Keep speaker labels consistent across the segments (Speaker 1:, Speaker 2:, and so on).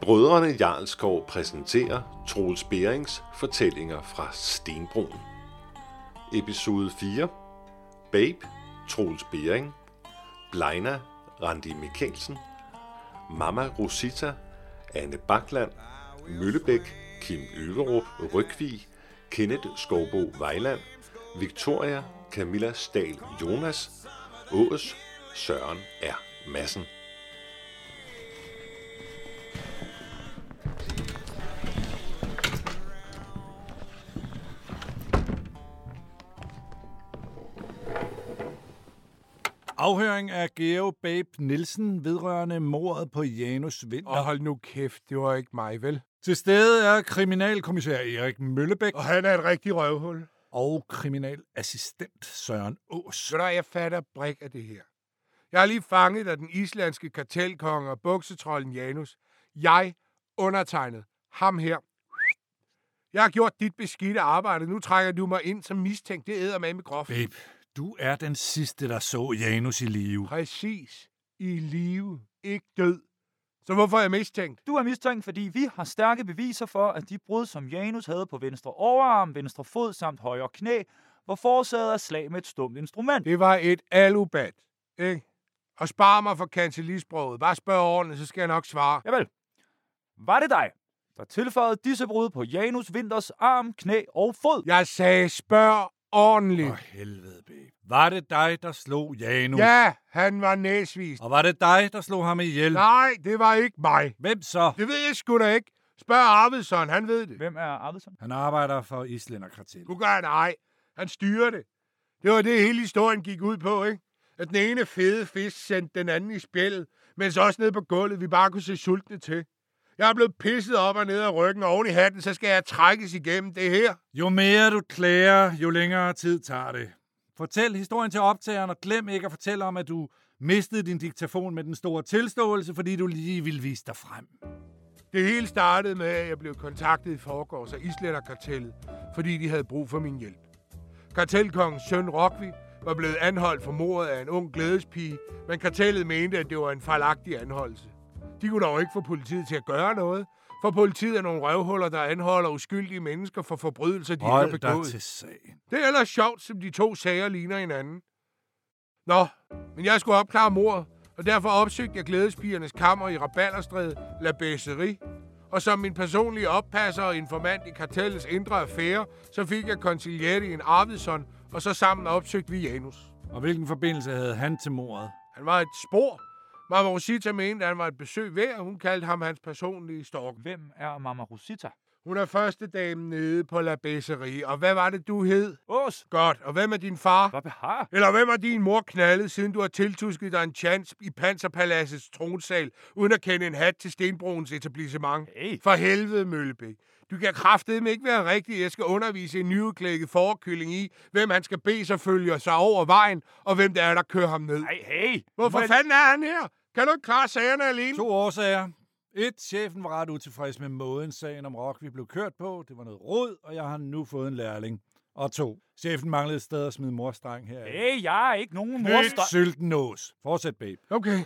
Speaker 1: Brødrene Jarlskov præsenterer Troels Berings fortællinger fra Stenbroen. Episode 4. Babe, Troels Bering. Blejna, Randi Mikkelsen. Mama Rosita, Anne Bakland. Møllebæk, Kim Øverup, Rygvig, Kenneth Skovbo Vejland, Victoria, Camilla Stahl Jonas, Ås, Søren R. Madsen.
Speaker 2: Afhøring af Geo Babe Nielsen vedrørende mordet på Janus Vinter.
Speaker 3: Og hold nu kæft, det var ikke mig, vel?
Speaker 2: Til stede er kriminalkommissær Erik Møllebæk
Speaker 3: Og han er et rigtig røvhul.
Speaker 2: og kriminalassistent Søren Ås.
Speaker 3: Så der, jeg fatter brik af det her. Jeg har lige fanget af den islandske kartelkonge og buksetrollen Janus. Jeg undertegnet ham her. Jeg har gjort dit beskidte arbejde. Nu trækker du mig ind som mistænkt. Det æder med med groft.
Speaker 2: Babe, du er den sidste, der så Janus i live.
Speaker 3: Præcis. I live. Ikke død. Så hvorfor er jeg mistænkt?
Speaker 4: Du er mistænkt, fordi vi har stærke beviser for, at de brud, som Janus havde på venstre overarm, venstre fod samt højre knæ, var forårsaget af slag med et stumt instrument.
Speaker 3: Det var et alubat. Ikke? Og spar mig for kancelisproget. Bare spørg ordentligt, så skal jeg nok svare.
Speaker 4: Javel, var det dig, der tilføjede disse brud på Janus Vinters arm, knæ og fod?
Speaker 3: Jeg sagde, spørg ordentligt.
Speaker 2: For helvede, Babe. Var det dig, der slog Janus?
Speaker 3: Ja, han var næsvist.
Speaker 2: Og var det dig, der slog ham ihjel?
Speaker 3: Nej, det var ikke mig.
Speaker 2: Hvem så?
Speaker 3: Det ved jeg sgu da ikke. Spørg Arvidsson, han ved det.
Speaker 4: Hvem er Arvidsson?
Speaker 2: Han arbejder for Islænderkartel.
Speaker 3: Du gør han ej. Han styrer det. Det var det, hele historien gik ud på, ikke? At den ene fede fisk sendte den anden i spjældet, mens også nede på gulvet, vi bare kunne se sultne til. Jeg er blevet pisset op og ned af ryggen, og oven i hatten, så skal jeg trækkes igennem det her.
Speaker 2: Jo mere du klager, jo længere tid tager det. Fortæl historien til optageren, og glem ikke at fortælle om, at du mistede din diktafon med den store tilståelse, fordi du lige ville vise dig frem.
Speaker 3: Det hele startede med, at jeg blev kontaktet i forgårs af Islænderkartellet, fordi de havde brug for min hjælp. Kartelkongens søn Rokvi var blevet anholdt for mordet af en ung glædespige, men kartellet mente, at det var en fejlagtig anholdelse. De kunne dog ikke få politiet til at gøre noget, for politiet er nogle røvhuller, der anholder uskyldige mennesker for forbrydelser, de ikke har
Speaker 2: Hold dig
Speaker 3: begået.
Speaker 2: til sagen.
Speaker 3: Det er ellers sjovt, som de to sager ligner hinanden. Nå, men jeg skulle opklare mor, og derfor opsøgte jeg glædespigernes kammer i Rabalderstræde, La Besserie. Og som min personlige oppasser og informant i kartellets indre affære, så fik jeg konsilietti en Arvidsson, og så sammen opsøgte vi Janus.
Speaker 2: Og hvilken forbindelse havde han til mordet?
Speaker 3: Han var et spor. Mama Rosita mente, at han var et besøg værd, og hun kaldte ham hans personlige stork.
Speaker 4: Hvem er Mama Rosita?
Speaker 3: Hun er første damen nede på La Besserie, og hvad var det, du hed?
Speaker 4: Ås,
Speaker 3: Godt, og hvem er din far?
Speaker 4: hvad behar?
Speaker 3: Eller hvem har din mor knaldet, siden du har tiltusket dig en chance i Panserpaladsets tronsal, uden at kende en hat til Stenbroens etablissement?
Speaker 4: Hey,
Speaker 3: For helvede, Møllebæk. Du kan kraftedeme ikke være rigtig. Jeg skal undervise en nyudklækket forkylling i, hvem han skal bede sig følge sig over vejen, og hvem det er, der kører ham ned.
Speaker 4: nej, hey.
Speaker 3: Hvorfor
Speaker 4: Men-
Speaker 3: fanden er han her? Kan du ikke klare sagerne alene?
Speaker 2: To årsager. Et, chefen var ret utilfreds med måden sagen om rock, vi blev kørt på. Det var noget rod, og jeg har nu fået en lærling. Og to, chefen manglede et sted at smide morstreng her.
Speaker 4: Hey, jeg er ikke nogen
Speaker 2: Nyt
Speaker 4: morster.
Speaker 2: syltenås. Fortsæt, babe.
Speaker 3: Okay.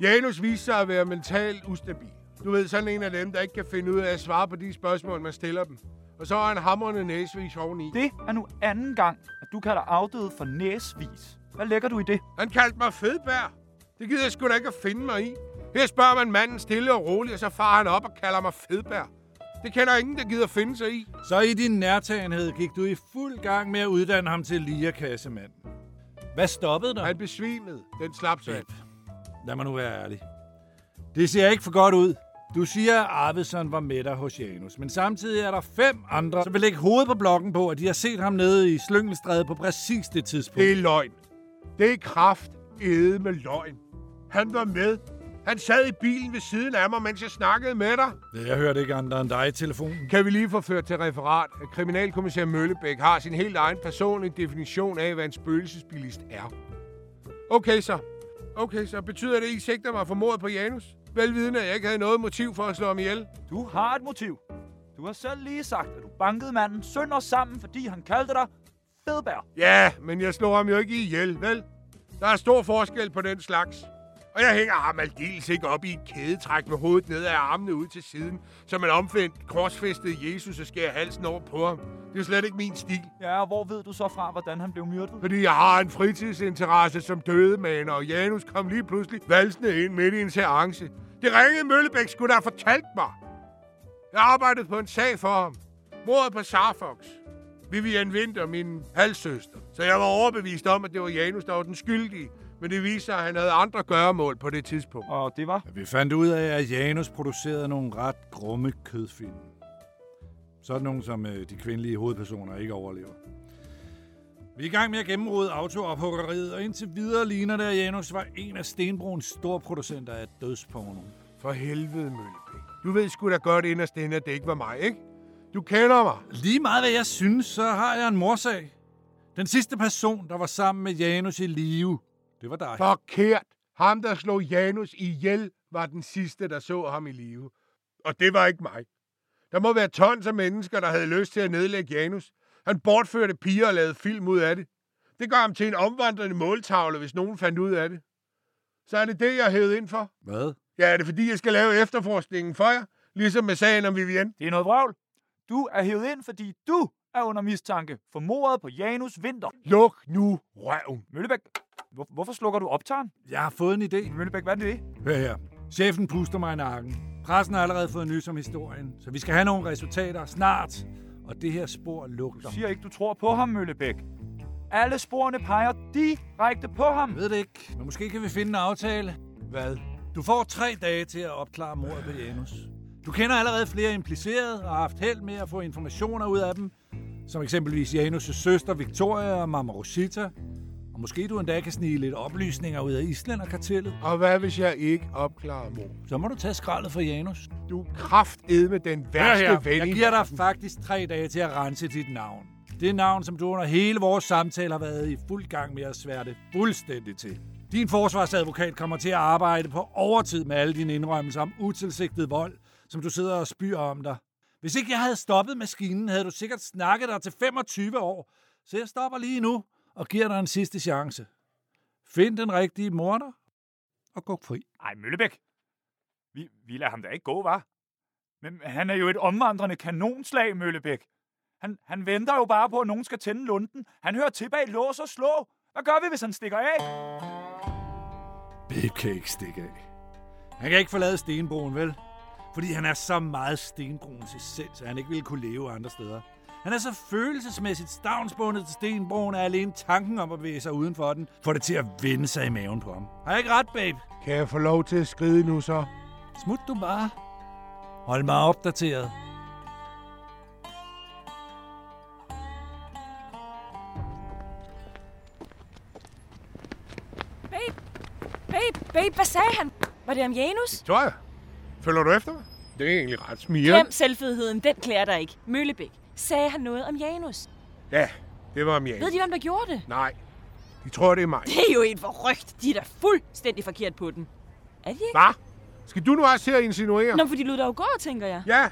Speaker 3: Janus viste sig at være mentalt ustabil. Du ved, sådan en af dem, der ikke kan finde ud af at svare på de spørgsmål, man stiller dem. Og så er han hamrende næsvis oveni.
Speaker 4: Det er nu anden gang, at du kalder afdøde for næsvis. Hvad lægger du i det?
Speaker 3: Han kaldte mig fedbær. Det gider jeg sgu da ikke at finde mig i. Her spørger man manden stille og roligt, og så farer han op og kalder mig fedbær. Det kender ingen, der gider finde sig i.
Speaker 2: Så i din nærtagenhed gik du i fuld gang med at uddanne ham til lierkassemand. Hvad stoppede dig?
Speaker 3: Han besvimede. Den slap sig.
Speaker 2: Babe, lad mig nu være ærlig. Det ser ikke for godt ud. Du siger, at Arvidsson var med dig hos Janus, men samtidig er der fem andre, som vil lægge hovedet på blokken på, at de har set ham nede i Slyngelstræde på præcis det tidspunkt.
Speaker 3: Det er løgn. Det er kraft æde med løgn. Han var med. Han sad i bilen ved siden af mig, mens jeg snakkede med dig.
Speaker 2: Jeg hørte ikke andre end dig i telefonen.
Speaker 3: Kan vi lige få ført til referat, at kriminalkommissær Møllebæk har sin helt egen personlige definition af, hvad en spøgelsesbilist er. Okay så. Okay så. Betyder det, at I sigter mig for mordet på Janus? Velvidende, at jeg ikke havde noget motiv for at slå ham ihjel.
Speaker 4: Du har et motiv. Du har selv lige sagt, at du bankede manden sønder sammen, fordi han kaldte dig fedbær.
Speaker 3: Ja, men jeg slog ham jo ikke ihjel, vel? Der er stor forskel på den slags. Og jeg hænger ham aldeles ikke op i et kædetræk med hovedet ned af armene ud til siden, som en omvendt korsfæstet Jesus og skærer halsen over på ham. Det er slet ikke min stil,
Speaker 4: Ja, og hvor ved du så fra, hvordan han blev myrdet?
Speaker 3: fordi jeg har en fritidsinteresse som dødemaner, og Janus kom lige pludselig valsende ind midt i en seance. Det ringede Møllebæk skulle da have fortalt mig. Jeg arbejdede på en sag for ham. Mordet på Sarfox. Vivian Winter, min halvsøster. Så jeg var overbevist om, at det var Janus, der var den skyldige. Men det viser sig, at han havde andre gøremål på det tidspunkt.
Speaker 4: Og det var...
Speaker 2: Vi fandt ud af, at Janus producerede nogle ret grumme kødfilm. Sådan nogle, som øh, de kvindelige hovedpersoner ikke overlever. Vi er i gang med at gennemrode autoophuggeriet, og indtil videre ligner det, at Janus var en af Stenbroens store producenter af dødsporno.
Speaker 3: For helvede, Møllebæk. Du ved sgu da godt inderst inde, at det ikke var mig, ikke? Du kender mig.
Speaker 2: Lige meget hvad jeg synes, så har jeg en morsag. Den sidste person, der var sammen med Janus i live, det var dig.
Speaker 3: Forkert. Ham, der slog Janus ihjel, var den sidste, der så ham i live. Og det var ikke mig. Der må være tons af mennesker, der havde lyst til at nedlægge Janus. Han bortførte piger og lavede film ud af det. Det gør ham til en omvandrende måltavle, hvis nogen fandt ud af det. Så er det det, jeg hævede ind for.
Speaker 2: Hvad?
Speaker 3: Ja, er det fordi, jeg skal lave efterforskningen for jer? Ligesom med sagen om Vivian.
Speaker 4: Det er noget vrøvl. Du er hævet ind, fordi du er under mistanke for mordet på Janus Vinter.
Speaker 3: Luk nu røven.
Speaker 4: Møllebæk, hvor, hvorfor slukker du optageren?
Speaker 2: Jeg har fået en idé.
Speaker 4: Møllebæk, hvad er det?
Speaker 2: Hør her. Chefen puster mig i nakken. Pressen har allerede fået nys om historien, så vi skal have nogle resultater snart. Og det her spor lugter.
Speaker 4: Du siger ikke, du tror på ham, Møllebæk. Alle sporene peger direkte på ham.
Speaker 2: Jeg ved det ikke, men måske kan vi finde en aftale.
Speaker 3: Hvad?
Speaker 2: Du får tre dage til at opklare mordet på Janus. Du kender allerede flere implicerede og har haft held med at få informationer ud af dem, som eksempelvis Janus' søster Victoria og mamma Rosita. Og måske du endda kan snige lidt oplysninger ud af Island og kartellet.
Speaker 3: Og hvad hvis jeg ikke opklarer mor?
Speaker 2: Så må du tage skraldet for Janus.
Speaker 3: Du er med den værste
Speaker 2: Hør her,
Speaker 3: ven.
Speaker 2: Jeg
Speaker 3: i-
Speaker 2: giver dig faktisk tre dage til at rense dit navn. Det navn, som du under hele vores samtale har været i fuld gang med at svære det fuldstændig til. Din forsvarsadvokat kommer til at arbejde på overtid med alle dine indrømmelser om utilsigtet vold, som du sidder og spyr om dig. Hvis ikke jeg havde stoppet maskinen, havde du sikkert snakket dig til 25 år. Så jeg stopper lige nu og giver dig en sidste chance. Find den rigtige morder og gå fri.
Speaker 4: Ej, Møllebæk. Vi, vi lader ham da ikke gå, var. Men han er jo et omvandrende kanonslag, Møllebæk. Han, han venter jo bare på, at nogen skal tænde lunden. Han hører til bag lås og slå. Hvad gør vi, hvis han stikker af?
Speaker 2: Babe kan ikke stikke af. Han kan ikke forlade Stenbroen, vel? Fordi han er så meget Stenbroens essens, at han ikke ville kunne leve andre steder. Han er så følelsesmæssigt stavnsbundet til Stenbroen, at alene tanken om at bevæge sig uden for den, får det til at vende sig i maven på ham. Har jeg ikke ret, babe?
Speaker 3: Kan jeg få lov til at skride nu så?
Speaker 2: Smut du bare. Hold mig opdateret.
Speaker 5: Babe, babe, babe, hvad sagde han? Var det om Janus?
Speaker 3: Tror jeg. Følger du efter mig? Det er egentlig ret smiger.
Speaker 5: Glem selvfedheden, den klæder dig ikke. Møllebæk, sagde han noget om Janus?
Speaker 3: Ja, det var om
Speaker 5: Ved
Speaker 3: Janus.
Speaker 5: de, hvem der gjorde det?
Speaker 3: Nej, de tror, det er mig.
Speaker 5: Det er jo et forrygt. De er da fuldstændig forkert på den. Er de ikke?
Speaker 3: Hvad? Skal du nu også her insinuere?
Speaker 5: Nå, for de lød der jo går, tænker jeg.
Speaker 3: Ja.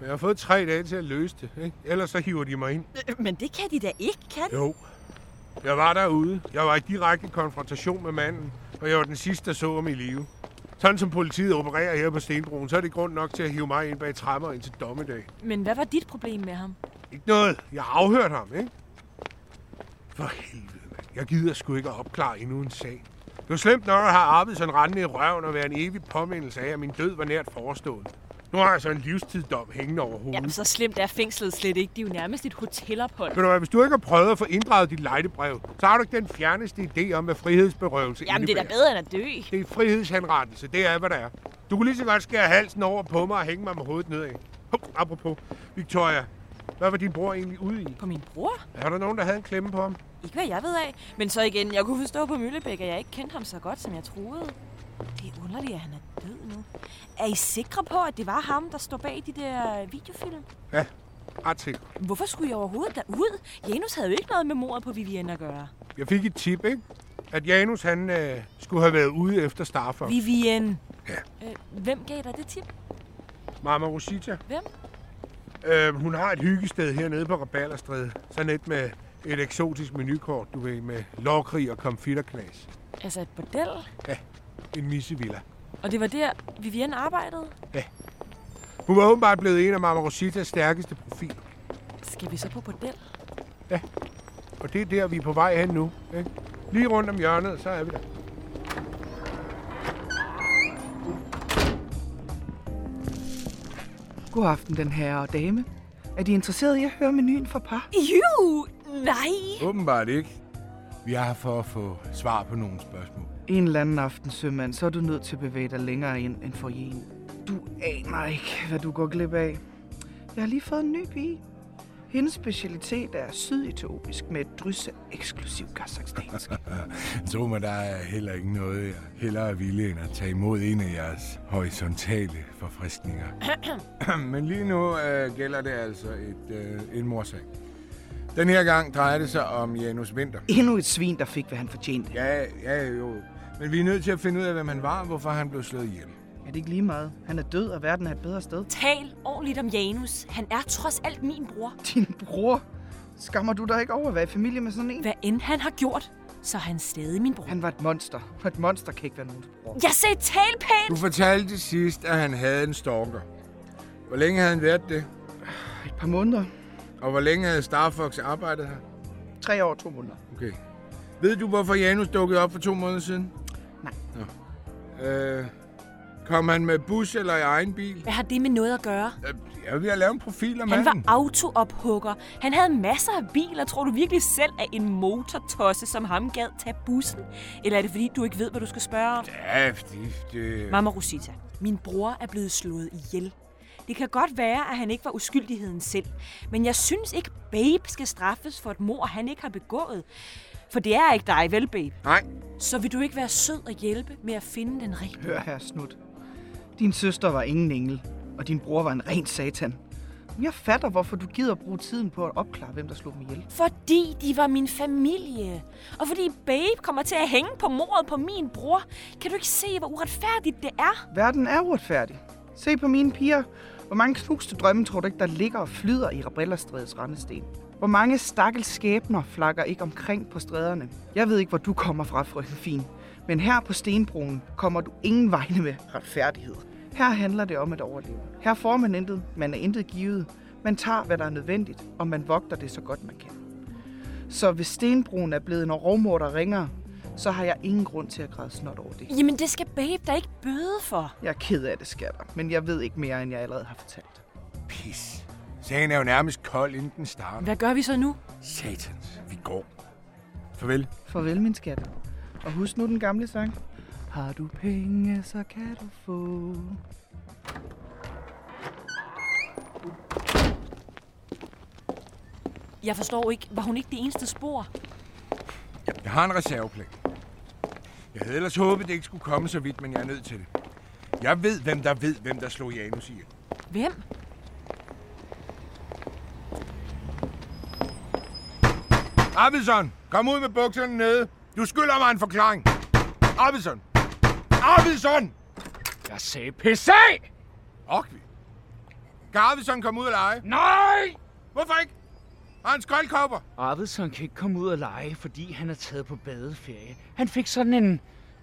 Speaker 3: Men jeg har fået tre dage til at løse det, ikke? Ellers så hiver de mig ind.
Speaker 5: Øh, Men det kan de da ikke, kan de?
Speaker 3: Jo. Jeg var derude. Jeg var i direkte konfrontation med manden, og jeg var den sidste, der så ham i live. Sådan som politiet opererer her på Stenbroen, så er det grund nok til at hive mig ind bag trammer indtil dommedag.
Speaker 5: Men hvad var dit problem med ham?
Speaker 3: Ikke noget. Jeg har afhørt ham, ikke? For helvede, mand. Jeg gider sgu ikke at opklare endnu en sag. Det var slemt nok at have arbejdet sådan rendende i røven og være en evig påmindelse af, at min død var nært forestået. Nu har jeg så en livstidsdom hængende over hovedet.
Speaker 5: Jamen, så slemt er fængslet slet ikke. Det er jo nærmest et hotelophold.
Speaker 3: Ved du hvad, hvis du ikke har prøvet at få inddraget dit lejdebrev, så har du ikke den fjerneste idé om, hvad frihedsberøvelse
Speaker 5: Jamen, det er da
Speaker 3: indebærer.
Speaker 5: bedre end at dø.
Speaker 3: Det er frihedshenrettelse. Det er, hvad der er. Du kunne lige så godt skære halsen over på mig og hænge mig med hovedet nedad. Hov, apropos. Victoria, hvad var din bror egentlig ude i?
Speaker 5: På min bror?
Speaker 3: Er der nogen, der havde en klemme på ham?
Speaker 5: Ikke hvad jeg ved af. Men så igen, jeg kunne forstå på Møllebæk, at jeg ikke kendte ham så godt, som jeg troede. Det er underligt, at han er død nu. Er I sikre på, at det var ham, der står bag de der videofilm?
Speaker 3: Ja, ret sikkert.
Speaker 5: Hvorfor skulle jeg overhovedet derud? Janus havde jo ikke noget med mordet på Vivienne at gøre.
Speaker 3: Jeg fik et tip, ikke? At Janus, han øh, skulle have været ude efter Starfox. Vi...
Speaker 5: Vivienne.
Speaker 3: Ja.
Speaker 5: Øh, hvem gav dig det tip?
Speaker 3: Mama Rosita.
Speaker 5: Hvem?
Speaker 3: Øh, hun har et hyggested hernede på Rabalderstræde. Sådan et med et eksotisk menukort, du ved, med lårkrig og konfitterknas.
Speaker 5: Altså et bordel.
Speaker 3: En missevilla.
Speaker 5: Og det var der, Vivian arbejdede.
Speaker 3: Hun var åbenbart blevet en af Mama Rositas stærkeste profiler.
Speaker 5: Skal vi så på bordel?
Speaker 3: Og det er der, vi er på vej hen nu. Ikke? Lige rundt om hjørnet, så er vi der.
Speaker 6: God aften, den herre og dame. Er de interesserede i at høre menuen for par?
Speaker 5: Jo, nej.
Speaker 3: Åbenbart ikke. Vi er her for at få svar på nogle spørgsmål.
Speaker 6: En eller anden aften, sømand, så er du nødt til at bevæge dig længere ind end for en. Du aner ikke, hvad du går glip af. Jeg har lige fået en ny pige. Hendes specialitet er sydetiopisk med et drys af eksklusiv kazakhstansk.
Speaker 3: Så men der er heller ikke noget, jeg hellere er villig end at tage imod en af jeres horisontale forfriskninger. men lige nu øh, gælder det altså et, øh, en morsag. Den her gang drejer det sig om Janus Winter.
Speaker 6: Endnu et svin, der fik, hvad han fortjente.
Speaker 3: Ja, ja, jo. Men vi er nødt til at finde ud af, hvem han var, og hvorfor han blev slået ihjel.
Speaker 6: Er det ikke lige meget? Han er død, og verden er et bedre sted.
Speaker 5: Tal ordentligt om Janus. Han er trods alt min bror.
Speaker 6: Din bror. Skammer du dig ikke over at være i familie med sådan en?
Speaker 5: Hvad end han har gjort, så er han stadig min bror.
Speaker 6: Han var et monster, og et monster kan ikke være nogens bror.
Speaker 5: Jeg sagde tal pænt!
Speaker 3: Du fortalte sidst, at han havde en stalker. Hvor længe havde han været det?
Speaker 6: Et par måneder.
Speaker 3: Og hvor længe havde Star Fox arbejdet her?
Speaker 6: Tre år og to måneder.
Speaker 3: Okay. Ved du, hvorfor Janus dukkede op for to måneder siden?
Speaker 6: Nej.
Speaker 3: Nå. Øh, kom han med bus eller i egen bil?
Speaker 5: Hvad har det med noget at gøre?
Speaker 3: Øh, Jeg er ved at lave en profil af
Speaker 5: Han var
Speaker 3: manden.
Speaker 5: autoophugger. Han havde masser af biler. Tror du virkelig selv, at en motortosse som ham gad tage bussen? Eller er det fordi, du ikke ved, hvad du skal spørge om?
Speaker 3: Ja, det, det...
Speaker 5: Mamma Rosita, min bror er blevet slået ihjel. Det kan godt være, at han ikke var uskyldigheden selv, men jeg synes ikke, Babe skal straffes for et mor, han ikke har begået. For det er ikke dig, vel, Babe?
Speaker 3: Nej,
Speaker 5: Så vil du ikke være sød og hjælpe med at finde den rigtige?
Speaker 6: Hør her, Snut. Din søster var ingen engel, og din bror var en ren satan. Men Jeg fatter, hvorfor du gider at bruge tiden på at opklare, hvem der slog mig ihjel.
Speaker 5: Fordi de var min familie. Og fordi Babe kommer til at hænge på mordet på min bror. Kan du ikke se, hvor uretfærdigt det er?
Speaker 6: Verden er uretfærdig. Se på mine piger. Hvor mange knuste drømme tror du ikke, der ligger og flyder i Rabellerstrædets rendesten? Hvor mange stakkels skæbner flakker ikke omkring på stræderne? Jeg ved ikke, hvor du kommer fra, frøken Fin. Men her på Stenbroen kommer du ingen vegne med retfærdighed. Her handler det om at overleve. Her får man intet, man er intet givet. Man tager, hvad der er nødvendigt, og man vogter det så godt man kan. Så hvis Stenbroen er blevet en rovmor, der ringer, så har jeg ingen grund til at græde snot over det.
Speaker 5: Jamen, det skal Babe da ikke bøde for.
Speaker 6: Jeg er ked af det, skatter, men jeg ved ikke mere, end jeg allerede har fortalt.
Speaker 3: pis. Sagen er jo nærmest kold, inden den starter.
Speaker 5: Hvad gør vi så nu?
Speaker 3: Satans, vi går. Farvel.
Speaker 6: Farvel, min skat. Og husk nu den gamle sang. Har du penge, så kan du få.
Speaker 5: Jeg forstår ikke, var hun ikke det eneste spor?
Speaker 3: Jeg har en reserveplan. Jeg havde ellers håbet, det ikke skulle komme så vidt, men jeg er nødt til det. Jeg ved, hvem der ved, hvem der slog Janus ihjel.
Speaker 5: Hvem?
Speaker 3: Arvidsson, kom ud med bukserne nede. Du skylder mig en forklaring. Arvidsson! Arvidsson!
Speaker 7: Jeg sagde PC!
Speaker 3: Okvi. Kan Arvidsson komme ud og lege?
Speaker 7: Nej!
Speaker 3: Hvorfor ikke? Har han skoldkopper?
Speaker 7: Arvidsson kan ikke komme ud og lege, fordi han er taget på badeferie. Han fik sådan en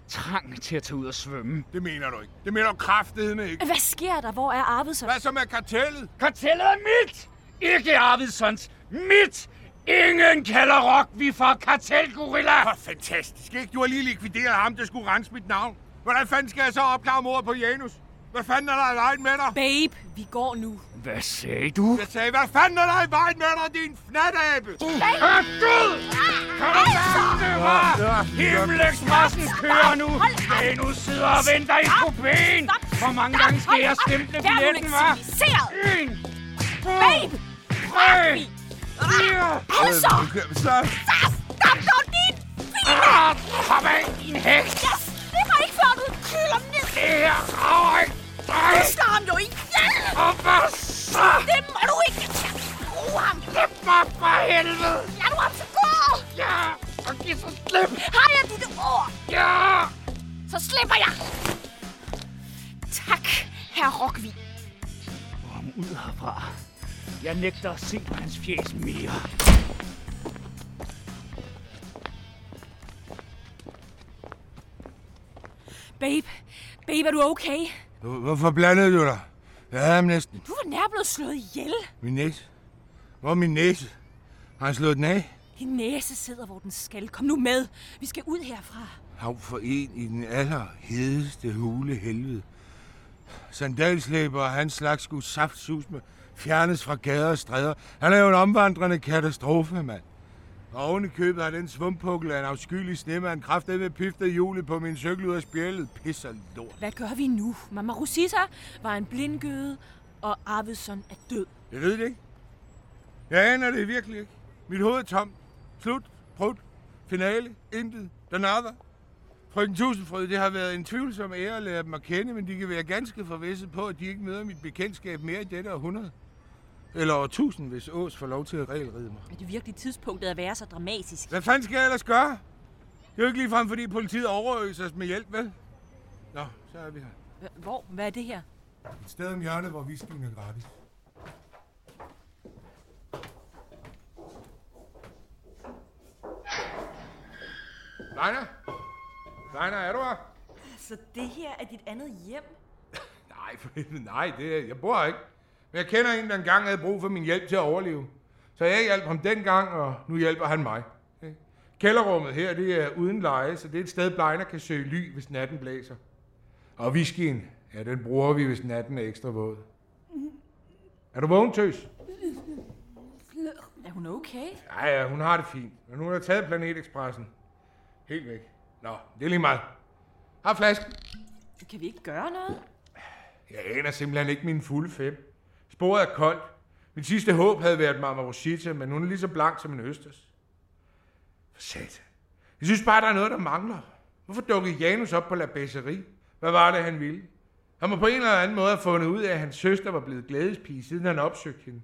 Speaker 7: trang til at tage ud og svømme.
Speaker 3: Det mener du ikke. Det mener du kraftedeme ikke.
Speaker 5: Hvad sker der? Hvor er Arvidsson?
Speaker 3: Hvad så med kartellet?
Speaker 7: Kartellet er mit! Ikke Arvidssons! Mit! Ingen kalder Rockvi for kartelgorilla!
Speaker 3: Hvor fantastisk, ikke? Du har lige likvideret ham, der skulle rense mit navn. Hvordan fanden skal jeg så opklare mordet på Janus? Hvad fanden er der i vejen med dig?
Speaker 5: Babe, vi går nu.
Speaker 7: Hvad sagde du?
Speaker 3: Jeg sagde, hvad fanden er der i vejen med dig, din fnatabe?
Speaker 7: Hør Gud! Kan du mærke det, hva'? Himmelexpressen kører nu! Janus sidder og venter i kupéen! Hvor mange gange skal jeg stemple billetten, hva'? En, to,
Speaker 5: Babe!
Speaker 7: tre, fire,
Speaker 5: Altså!
Speaker 3: Så,
Speaker 5: Stop nu, din fine!
Speaker 7: Ah, Kom af, din heks!
Speaker 5: Jeg slipper ikke, før du kyler ned!
Speaker 7: Det her rager ikke dig!
Speaker 5: Du slår ham jo ihjel!
Speaker 7: Og hvad så?
Speaker 5: Det må du ikke! Brug ham!
Speaker 7: Slip mig for helvede!
Speaker 5: Lad du ham så gå!
Speaker 7: Ja! Og giv så slip!
Speaker 5: Har jeg dit ord,
Speaker 7: Ja!
Speaker 5: så slipper jeg! Tak, herr Rockvi.
Speaker 7: Få ham ud herfra. Jeg nægter at se på hans fjes mere.
Speaker 5: Babe, babe, er du okay?
Speaker 3: Hvor- Hvorfor blandede du dig? Ja, næsten.
Speaker 5: Du var nær blevet slået ihjel.
Speaker 3: Min næse. Hvor er min næse? Har han slået den af?
Speaker 5: Din næse sidder, hvor den skal. Kom nu med. Vi skal ud herfra.
Speaker 3: Hav for en i den allerhedeste hule helvede. Sandalslæber og hans slags skulle saftsus med fjernes fra gader og stræder. Han er jo en omvandrende katastrofe, mand. Og oven i købet har den svumpukkel af en afskyelig snemand kraftet med piftet hjulet på min cykel ud af spjældet. Pisser lort.
Speaker 5: Hvad gør vi nu? Mama Rosita var en blindgøde, og Arvidsson er død.
Speaker 3: Jeg ved det ikke. Jeg aner det virkelig ikke. Mit hoved er tomt. Slut. Prut. Finale. Intet. Der nada. Frøken Tusindfrød, det har været en tvivlsom ære at lære dem at kende, men de kan være ganske forvisset på, at de ikke møder mit bekendtskab mere i dette århundrede. Eller årtusind, hvis Ås får lov til at regelride mig.
Speaker 5: Er det virkelig tidspunktet at være så dramatisk?
Speaker 3: Hvad fanden skal jeg ellers gøre? Det er jo ikke ligefrem, fordi politiet overøser os med hjælp, vel? Nå, så er vi her.
Speaker 5: Hva- Hvor? Hvad er det her?
Speaker 3: Et sted om hjørnet, hvor whiskyen er gratis. Leiner? Leiner, er du her?
Speaker 5: Så Altså, det her er dit andet hjem?
Speaker 3: Nej, for helvede, nej, det er, jeg bor her ikke. Men jeg kender en, der engang havde brug for min hjælp til at overleve. Så jeg hjalp ham dengang, og nu hjælper han mig. Ikke? Kælderrummet her, det er uden leje, så det er et sted, Blegner kan søge ly, hvis natten blæser. Og whiskyen, ja, den bruger vi, hvis natten er ekstra våd. Er du vågen, tøs?
Speaker 5: Er hun okay?
Speaker 3: Ja, ja, hun har det fint. Men hun har taget Planetexpressen. Helt væk. Nå, det er lige meget. Har flasken.
Speaker 5: Kan vi ikke gøre noget?
Speaker 3: Jeg aner simpelthen ikke min fulde fem. Sporet er koldt. Mit sidste håb havde været Mama Rosita, men hun er lige så blank som en østers. For satan. Jeg synes bare, der er noget, der mangler. Hvorfor dukkede Janus op på La Besserie? Hvad var det, han ville? Han må på en eller anden måde have fundet ud af, at hans søster var blevet glædespige, siden han opsøgte hende.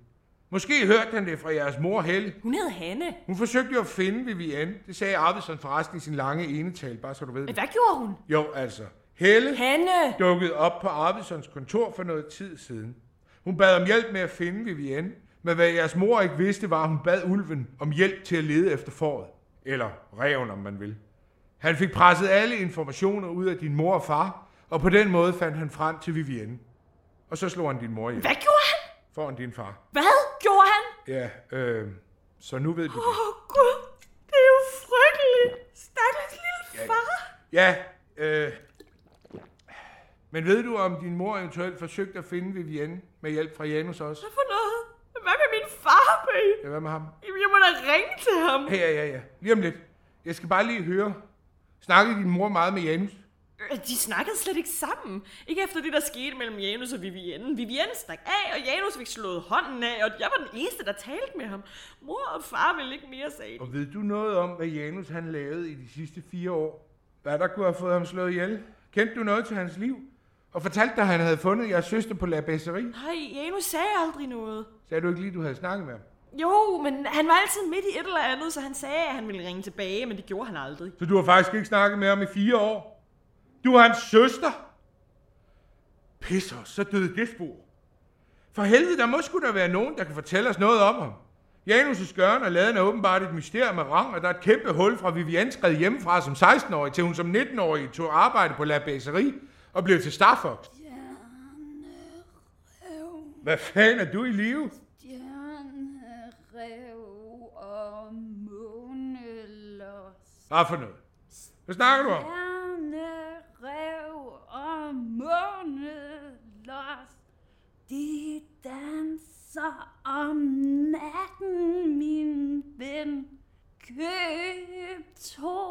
Speaker 3: Måske hørte han det fra jeres mor Helle.
Speaker 5: Hun hed Hanne.
Speaker 3: Hun forsøgte jo at finde Vivian. Det sagde Arvidsson forresten i sin lange enetal, bare så du ved
Speaker 5: Men
Speaker 3: det.
Speaker 5: hvad gjorde hun?
Speaker 3: Jo, altså. Helle
Speaker 5: Hanne!
Speaker 3: dukkede op på Arvidssons kontor for noget tid siden. Hun bad om hjælp med at finde Vivienne, men hvad jeres mor ikke vidste, var, at hun bad ulven om hjælp til at lede efter foråret. Eller reven, om man vil. Han fik presset alle informationer ud af din mor og far, og på den måde fandt han frem til Vivienne. Og så slog han din mor ihjel
Speaker 5: Hvad gjorde han?
Speaker 3: foran din far.
Speaker 5: Hvad gjorde han?
Speaker 3: Ja, øh, så nu ved du det.
Speaker 5: Åh, oh, Gud. Det er jo frygteligt. Stakkels lille far.
Speaker 3: Ja, øh. Men ved du, om din mor eventuelt forsøgte at finde Vivienne med hjælp fra Janus også?
Speaker 5: For noget. Hvad med min far, babe?
Speaker 3: Ja, hvad med ham?
Speaker 5: Jamen, jeg må da ringe til ham.
Speaker 3: Ja, ja, ja. Lige om lidt. Jeg skal bare lige høre. Snakkede din mor meget med Janus?
Speaker 8: De snakkede slet ikke sammen. Ikke efter det, der skete mellem Janus og Vivienne. Vivienne stak af, og Janus fik slået hånden af, og jeg var den eneste, der talte med ham. Mor og far ville ikke mere, sagde de.
Speaker 3: Og ved du noget om, hvad Janus han lavede i de sidste fire år? Hvad der kunne have fået ham slået ihjel? Kendte du noget til hans liv? Og fortalte dig, at han havde fundet jeres søster på La Besserie?
Speaker 8: Nej, Janus sagde aldrig noget.
Speaker 3: Sagde du ikke lige, du havde snakket med ham?
Speaker 8: Jo, men han var altid midt i et eller andet, så han sagde, at han ville ringe tilbage, men det gjorde han aldrig.
Speaker 3: Så du har faktisk ikke snakket med ham i fire år? Du er hans søster? Pisser, så døde det spor. For helvede, der må sgu da være nogen, der kan fortælle os noget om ham. Janus' gøren og laden er åbenbart et mysterium af rang, og der er et kæmpe hul fra Vivian skred hjemmefra som 16-årig, til hun som 19-årig tog arbejde på La Baserie og blev til Star Fox. Hvad fanden er du i live?
Speaker 9: Stjernerev og månelos.
Speaker 3: Hvad for noget? Hvad snakker du om?
Speaker 9: Stjernerev og månelos. De danser om natten, min ven. Køb to,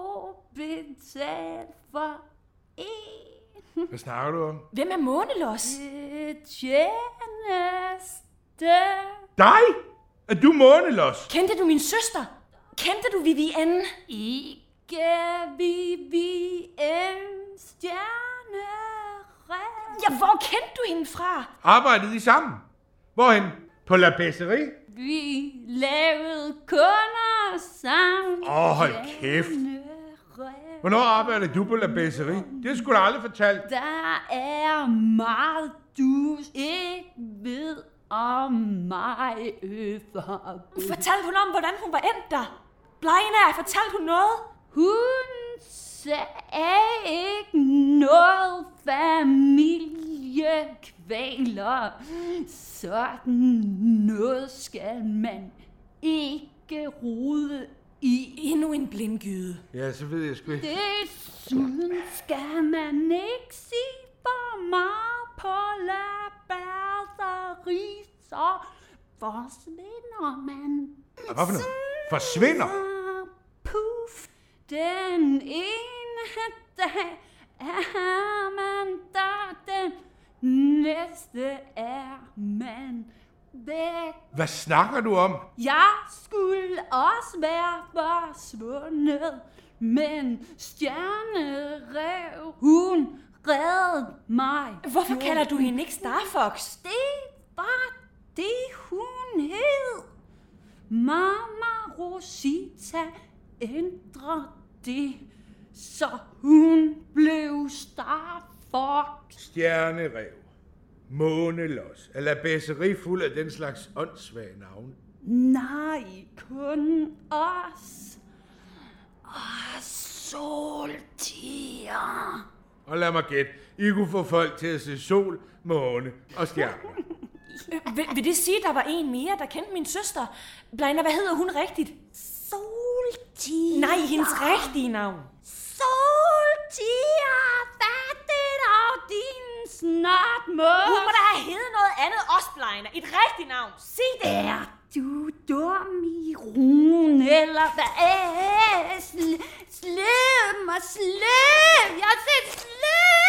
Speaker 9: betal for en.
Speaker 3: Hvad snakker du om?
Speaker 5: Hvem er Månelos?
Speaker 9: Det tjeneste.
Speaker 3: Dig? Er du månelos?
Speaker 5: Kendte du min søster? Kendte du Vivienne?
Speaker 9: Ikke Vivien Stjernerev.
Speaker 5: Ja, hvor kendte du hende fra?
Speaker 3: Arbejdede I sammen? Hvorhen? På La Besserie?
Speaker 9: Vi lavede kunder sammen.
Speaker 3: Åh, oh, hold kæft.
Speaker 9: Stjernerev.
Speaker 3: Hvornår arbejdede du på La Besserie? Det skulle du aldrig fortalt.
Speaker 9: Der er meget, du ikke ved om mig. Øver.
Speaker 5: Fortalte hun om, hvordan hun var endt der? Blegna, fortalte hun noget?
Speaker 9: Hun sagde ikke noget familie kvaler. Sådan noget skal man ikke rode i.
Speaker 5: Endnu en blindgyde.
Speaker 3: Ja, så ved jeg sgu ikke.
Speaker 9: Desuden skal man ikke sige for meget på labatteri, så forsvinder man.
Speaker 3: Hvad for noget? Forsvinder?
Speaker 9: Ah, Puff, den ene dag er man der, den næste er man væk.
Speaker 3: Hvad snakker du om?
Speaker 9: Jeg skulle også være forsvundet, men stjernerev, hun reddede mig.
Speaker 5: Hvorfor kalder du hende ikke Starfox?
Speaker 9: Det var det, hun hed. Mama Rosita ændrer det, så hun blev Starfox.
Speaker 3: Stjernerev. Månelos. Eller bæsseri fuld af den slags åndssvage navne.
Speaker 9: Nej, kun os. Og soltiger.
Speaker 3: Og lad mig gætte. I kunne få folk til at se sol, måne og stjerner.
Speaker 5: Øh, Vil, vil det sige, at der var en mere, der kendte min søster? Blejner, hvad hedder hun rigtigt?
Speaker 9: Soltiger.
Speaker 5: Nej, hendes rigtige navn.
Speaker 9: Soltiger, hvad det af din snart må?
Speaker 5: Hun må da have heddet noget andet også, Blejner. Et rigtigt navn. Sig det.
Speaker 9: Er du dum i ruen, eller hvad? Æh, sl- Slim og slim, jeg har set slim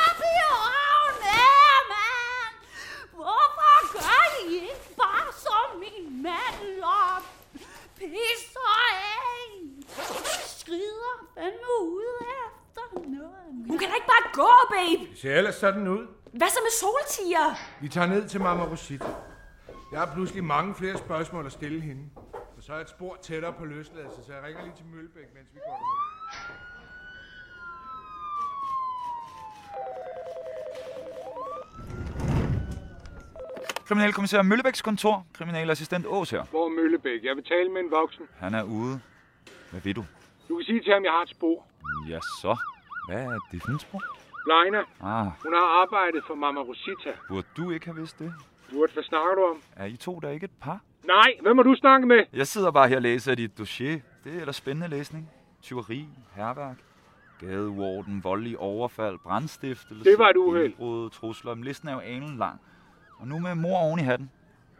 Speaker 9: op i røven af, mand. Hvorfor gør I ikke bare som min mand og pisser af? Skrider fandme ud efter noget.
Speaker 5: Hun kan da ikke bare gå, babe.
Speaker 3: Det ser ellers sådan ud.
Speaker 5: Hvad så med soltiger?
Speaker 3: Vi tager ned til Mama Rosita. Jeg har pludselig mange flere spørgsmål at stille hende. Og så er jeg et spor tættere på løsladelse, så jeg ringer lige til Møllebæk, mens vi går derned.
Speaker 4: Kriminalkommissær Møllebæks kontor. Kriminalassistent Ås her.
Speaker 10: Hvor er Møllebæk? Jeg vil tale med en voksen.
Speaker 4: Han er ude. Hvad ved du?
Speaker 10: Du kan sige til ham, jeg har et spor.
Speaker 4: Ja, så. Hvad er det for en sprog?
Speaker 10: Leina,
Speaker 4: Ah,
Speaker 10: hun har arbejdet for Mama Rosita.
Speaker 4: burde du ikke have vidst det?
Speaker 10: Burt, hvad snakker du om?
Speaker 4: Er I to der ikke et par?
Speaker 10: Nej, hvem må du snakke med?
Speaker 4: Jeg sidder bare her og læser dit dossier. Det er ellers spændende læsning. Tyveri, herværk, gadevorden, voldelig overfald, brandstiftelse...
Speaker 10: Det var et uheld.
Speaker 4: Indbrud, trusler. Men Listen er jo anen lang. Og nu med mor oven i hatten.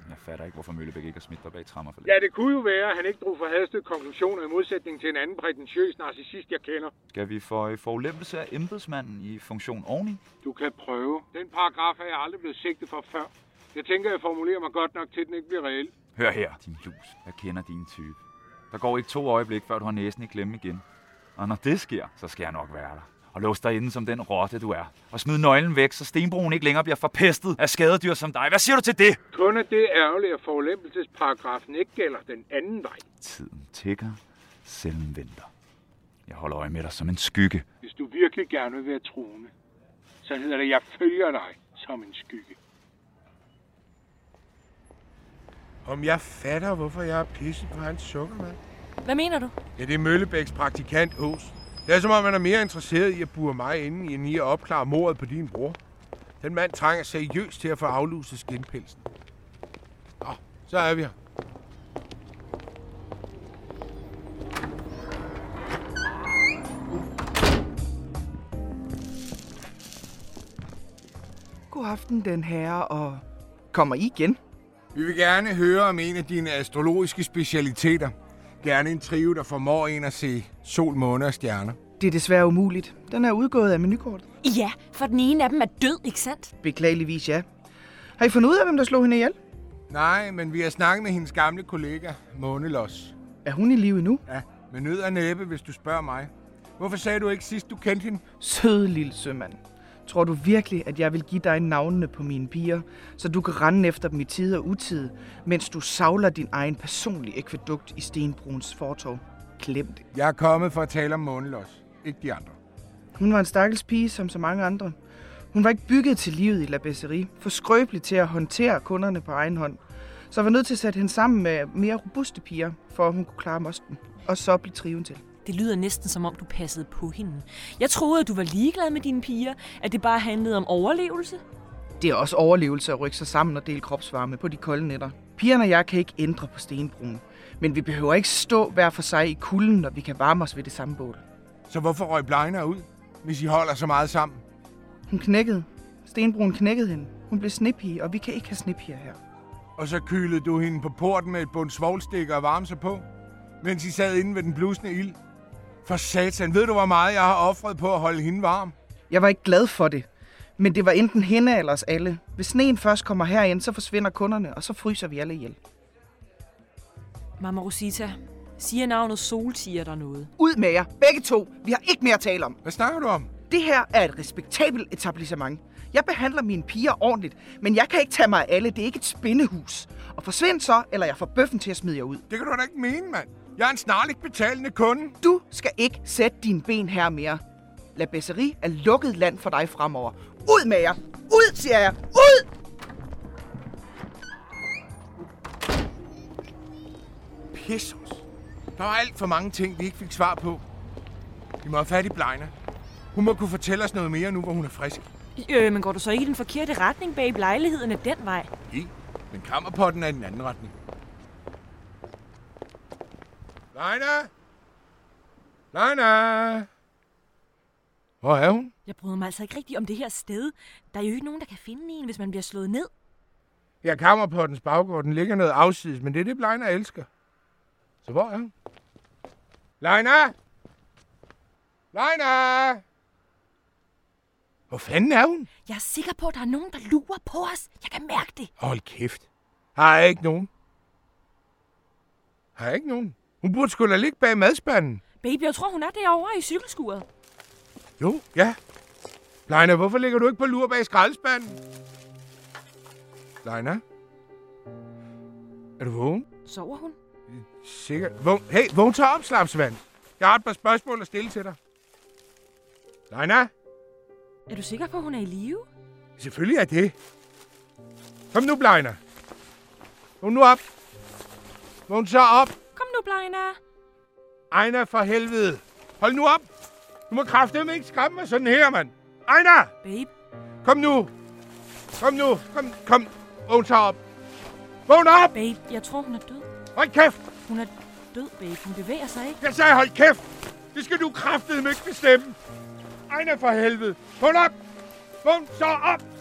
Speaker 4: Jeg fatter ikke, hvorfor Møllebæk ikke har smidt dig bag trammer for
Speaker 10: Ja, det kunne jo være, at han ikke drog forhastede konklusioner i modsætning til en anden prætentiøs narcissist, jeg kender.
Speaker 4: Skal vi få forulempelse af embedsmanden i funktion oveni?
Speaker 10: Du kan prøve. Den paragraf er jeg aldrig blevet sigtet for før. Jeg tænker, jeg formulerer mig godt nok til, at den ikke bliver reelt.
Speaker 4: Hør her, din lus. Jeg kender din type. Der går ikke to øjeblik, før du har næsen i klemme igen. Og når det sker, så skal jeg nok være der. Og lås dig inde som den rotte, du er. Og smid nøglen væk, så stenbroen ikke længere bliver forpestet af skadedyr som dig. Hvad siger du til det?
Speaker 10: Kun at det er ærgerligt, at forulempelsesparagrafen ikke gælder den anden vej.
Speaker 4: Tiden tigger, selv venter. Jeg holder øje med dig som en skygge.
Speaker 10: Hvis du virkelig gerne vil være troende, så hedder det, at jeg følger dig som en skygge.
Speaker 3: Om jeg fatter, hvorfor jeg har pisset på hans sukkermad?
Speaker 5: Hvad mener du?
Speaker 3: Ja, det er Møllebæks praktikant Ås. Det er som om, han er mere interesseret i at bure mig inden, end i at opklare mordet på din bror. Den mand trænger seriøst til at få afluset skinpelsen. Nå, så er vi her.
Speaker 6: God aften, den herre, og kommer I igen?
Speaker 3: Vi vil gerne høre om en af dine astrologiske specialiteter. Gerne en trio, der formår en at se sol, måne og stjerner.
Speaker 6: Det er desværre umuligt. Den er udgået af menukortet.
Speaker 5: Ja, for den ene af dem er død, ikke sandt?
Speaker 6: Beklageligvis ja. Har I fundet ud af, hvem der slog hende ihjel?
Speaker 3: Nej, men vi har snakket med hendes gamle kollega, Månelos.
Speaker 6: Er hun i live endnu?
Speaker 3: Ja, men nød og næppe, hvis du spørger mig. Hvorfor sagde du ikke sidst, du kendte hende?
Speaker 6: Søde lille sømand. Tror du virkelig, at jeg vil give dig navnene på mine piger, så du kan rende efter dem i tide og utide, mens du savler din egen personlige ekvadukt i Stenbruns fortov? Glem det.
Speaker 3: Jeg er kommet for at tale om Månelos, ikke de andre.
Speaker 6: Hun var en stakkels pige, som så mange andre. Hun var ikke bygget til livet i La Besserie, for skrøbelig til at håndtere kunderne på egen hånd. Så jeg var nødt til at sætte hende sammen med mere robuste piger, for at hun kunne klare mosten, og så blive triven til.
Speaker 5: Det lyder næsten som om, du passede på hende. Jeg troede, at du var ligeglad med dine piger, at det bare handlede om overlevelse.
Speaker 6: Det er også overlevelse at rykke sig sammen og dele kropsvarme på de kolde nætter. Pigerne og jeg kan ikke ændre på stenbroen, men vi behøver ikke stå hver for sig i kulden, når vi kan varme os ved det samme bål.
Speaker 3: Så hvorfor røg Blejner ud, hvis I holder så meget sammen?
Speaker 6: Hun knækkede. Stenbroen knækkede hende. Hun blev snepige, og vi kan ikke have snepiger her.
Speaker 3: Og så kylede du hende på porten med et bund svovlstikker og varme sig på, mens I sad inde ved den blusende ild. For satan, ved du, hvor meget jeg har offret på at holde hende varm?
Speaker 6: Jeg var ikke glad for det, men det var enten hende eller os alle. Hvis sneen først kommer herind, så forsvinder kunderne, og så fryser vi alle ihjel.
Speaker 5: Mama Rosita, siger navnet Soltiger der noget?
Speaker 6: Ud med jer, begge to. Vi har ikke mere at tale om.
Speaker 3: Hvad snakker du om?
Speaker 6: Det her er et respektabelt etablissement. Jeg behandler mine piger ordentligt, men jeg kan ikke tage mig af alle. Det er ikke et spindehus. Og forsvind så, eller jeg får bøffen til at smide jer ud.
Speaker 3: Det kan du da ikke mene, mand. Jeg er en snarligt betalende kunde.
Speaker 6: Du skal ikke sætte dine ben her mere. La Besserie er lukket land for dig fremover. Ud med jer! Ud, siger jeg! Ud!
Speaker 3: Pissos. Der var alt for mange ting, vi ikke fik svar på. Vi må have fat i Blejner. Hun må kunne fortælle os noget mere nu, hvor hun er frisk.
Speaker 5: Øh, men går du så ikke i den forkerte retning bag lejligheden af den vej?
Speaker 3: I, men kammerpotten er i den anden retning. Blejner! Blejner! Hvor er hun?
Speaker 5: Jeg bryder mig altså ikke rigtigt om det her sted. Der er jo ikke nogen, der kan finde en, hvis man bliver slået ned.
Speaker 3: Ja, kammerpottens baggård, den ligger noget afsides, men det er det, Blejner elsker. Så hvor er hun? Blejner! Blejner! Hvor fanden er hun?
Speaker 5: Jeg er sikker på, at der er nogen, der lurer på os. Jeg kan mærke det.
Speaker 3: Hold kæft. Har jeg ikke nogen? Har jeg ikke nogen? Hun burde skulle da ligge bag madspanden.
Speaker 5: Baby, jeg tror, hun er derovre i cykelskuret.
Speaker 3: Jo, ja. Leina, hvorfor ligger du ikke på lur bag skraldespanden? Leina? Er du vågen?
Speaker 5: Sover hun?
Speaker 3: Sikkert. Vågen. Hey, vågen tager opslapsvand. Jeg har et par spørgsmål at stille til dig. Leina?
Speaker 5: Er du sikker på, at hun er i live?
Speaker 3: Selvfølgelig er det. Kom nu, Leina. Vågn nu op. Vågn så op.
Speaker 5: Kom nu, Blejna.
Speaker 3: Ejner for helvede. Hold nu op. Du må kraftedeme ikke skræmme mig sådan her, mand. Ejner!
Speaker 5: Babe,
Speaker 3: Kom nu! Kom nu! Kom, kom! Vågn så op! Vågn op!
Speaker 5: babe, jeg tror, hun er død.
Speaker 3: Hold kæft!
Speaker 5: Hun er død, babe. Hun bevæger sig ikke.
Speaker 3: Jeg sagde hold kæft! Det skal du kraftedeme ikke bestemme! Ejner for helvede! Vågn op! Vågn så op!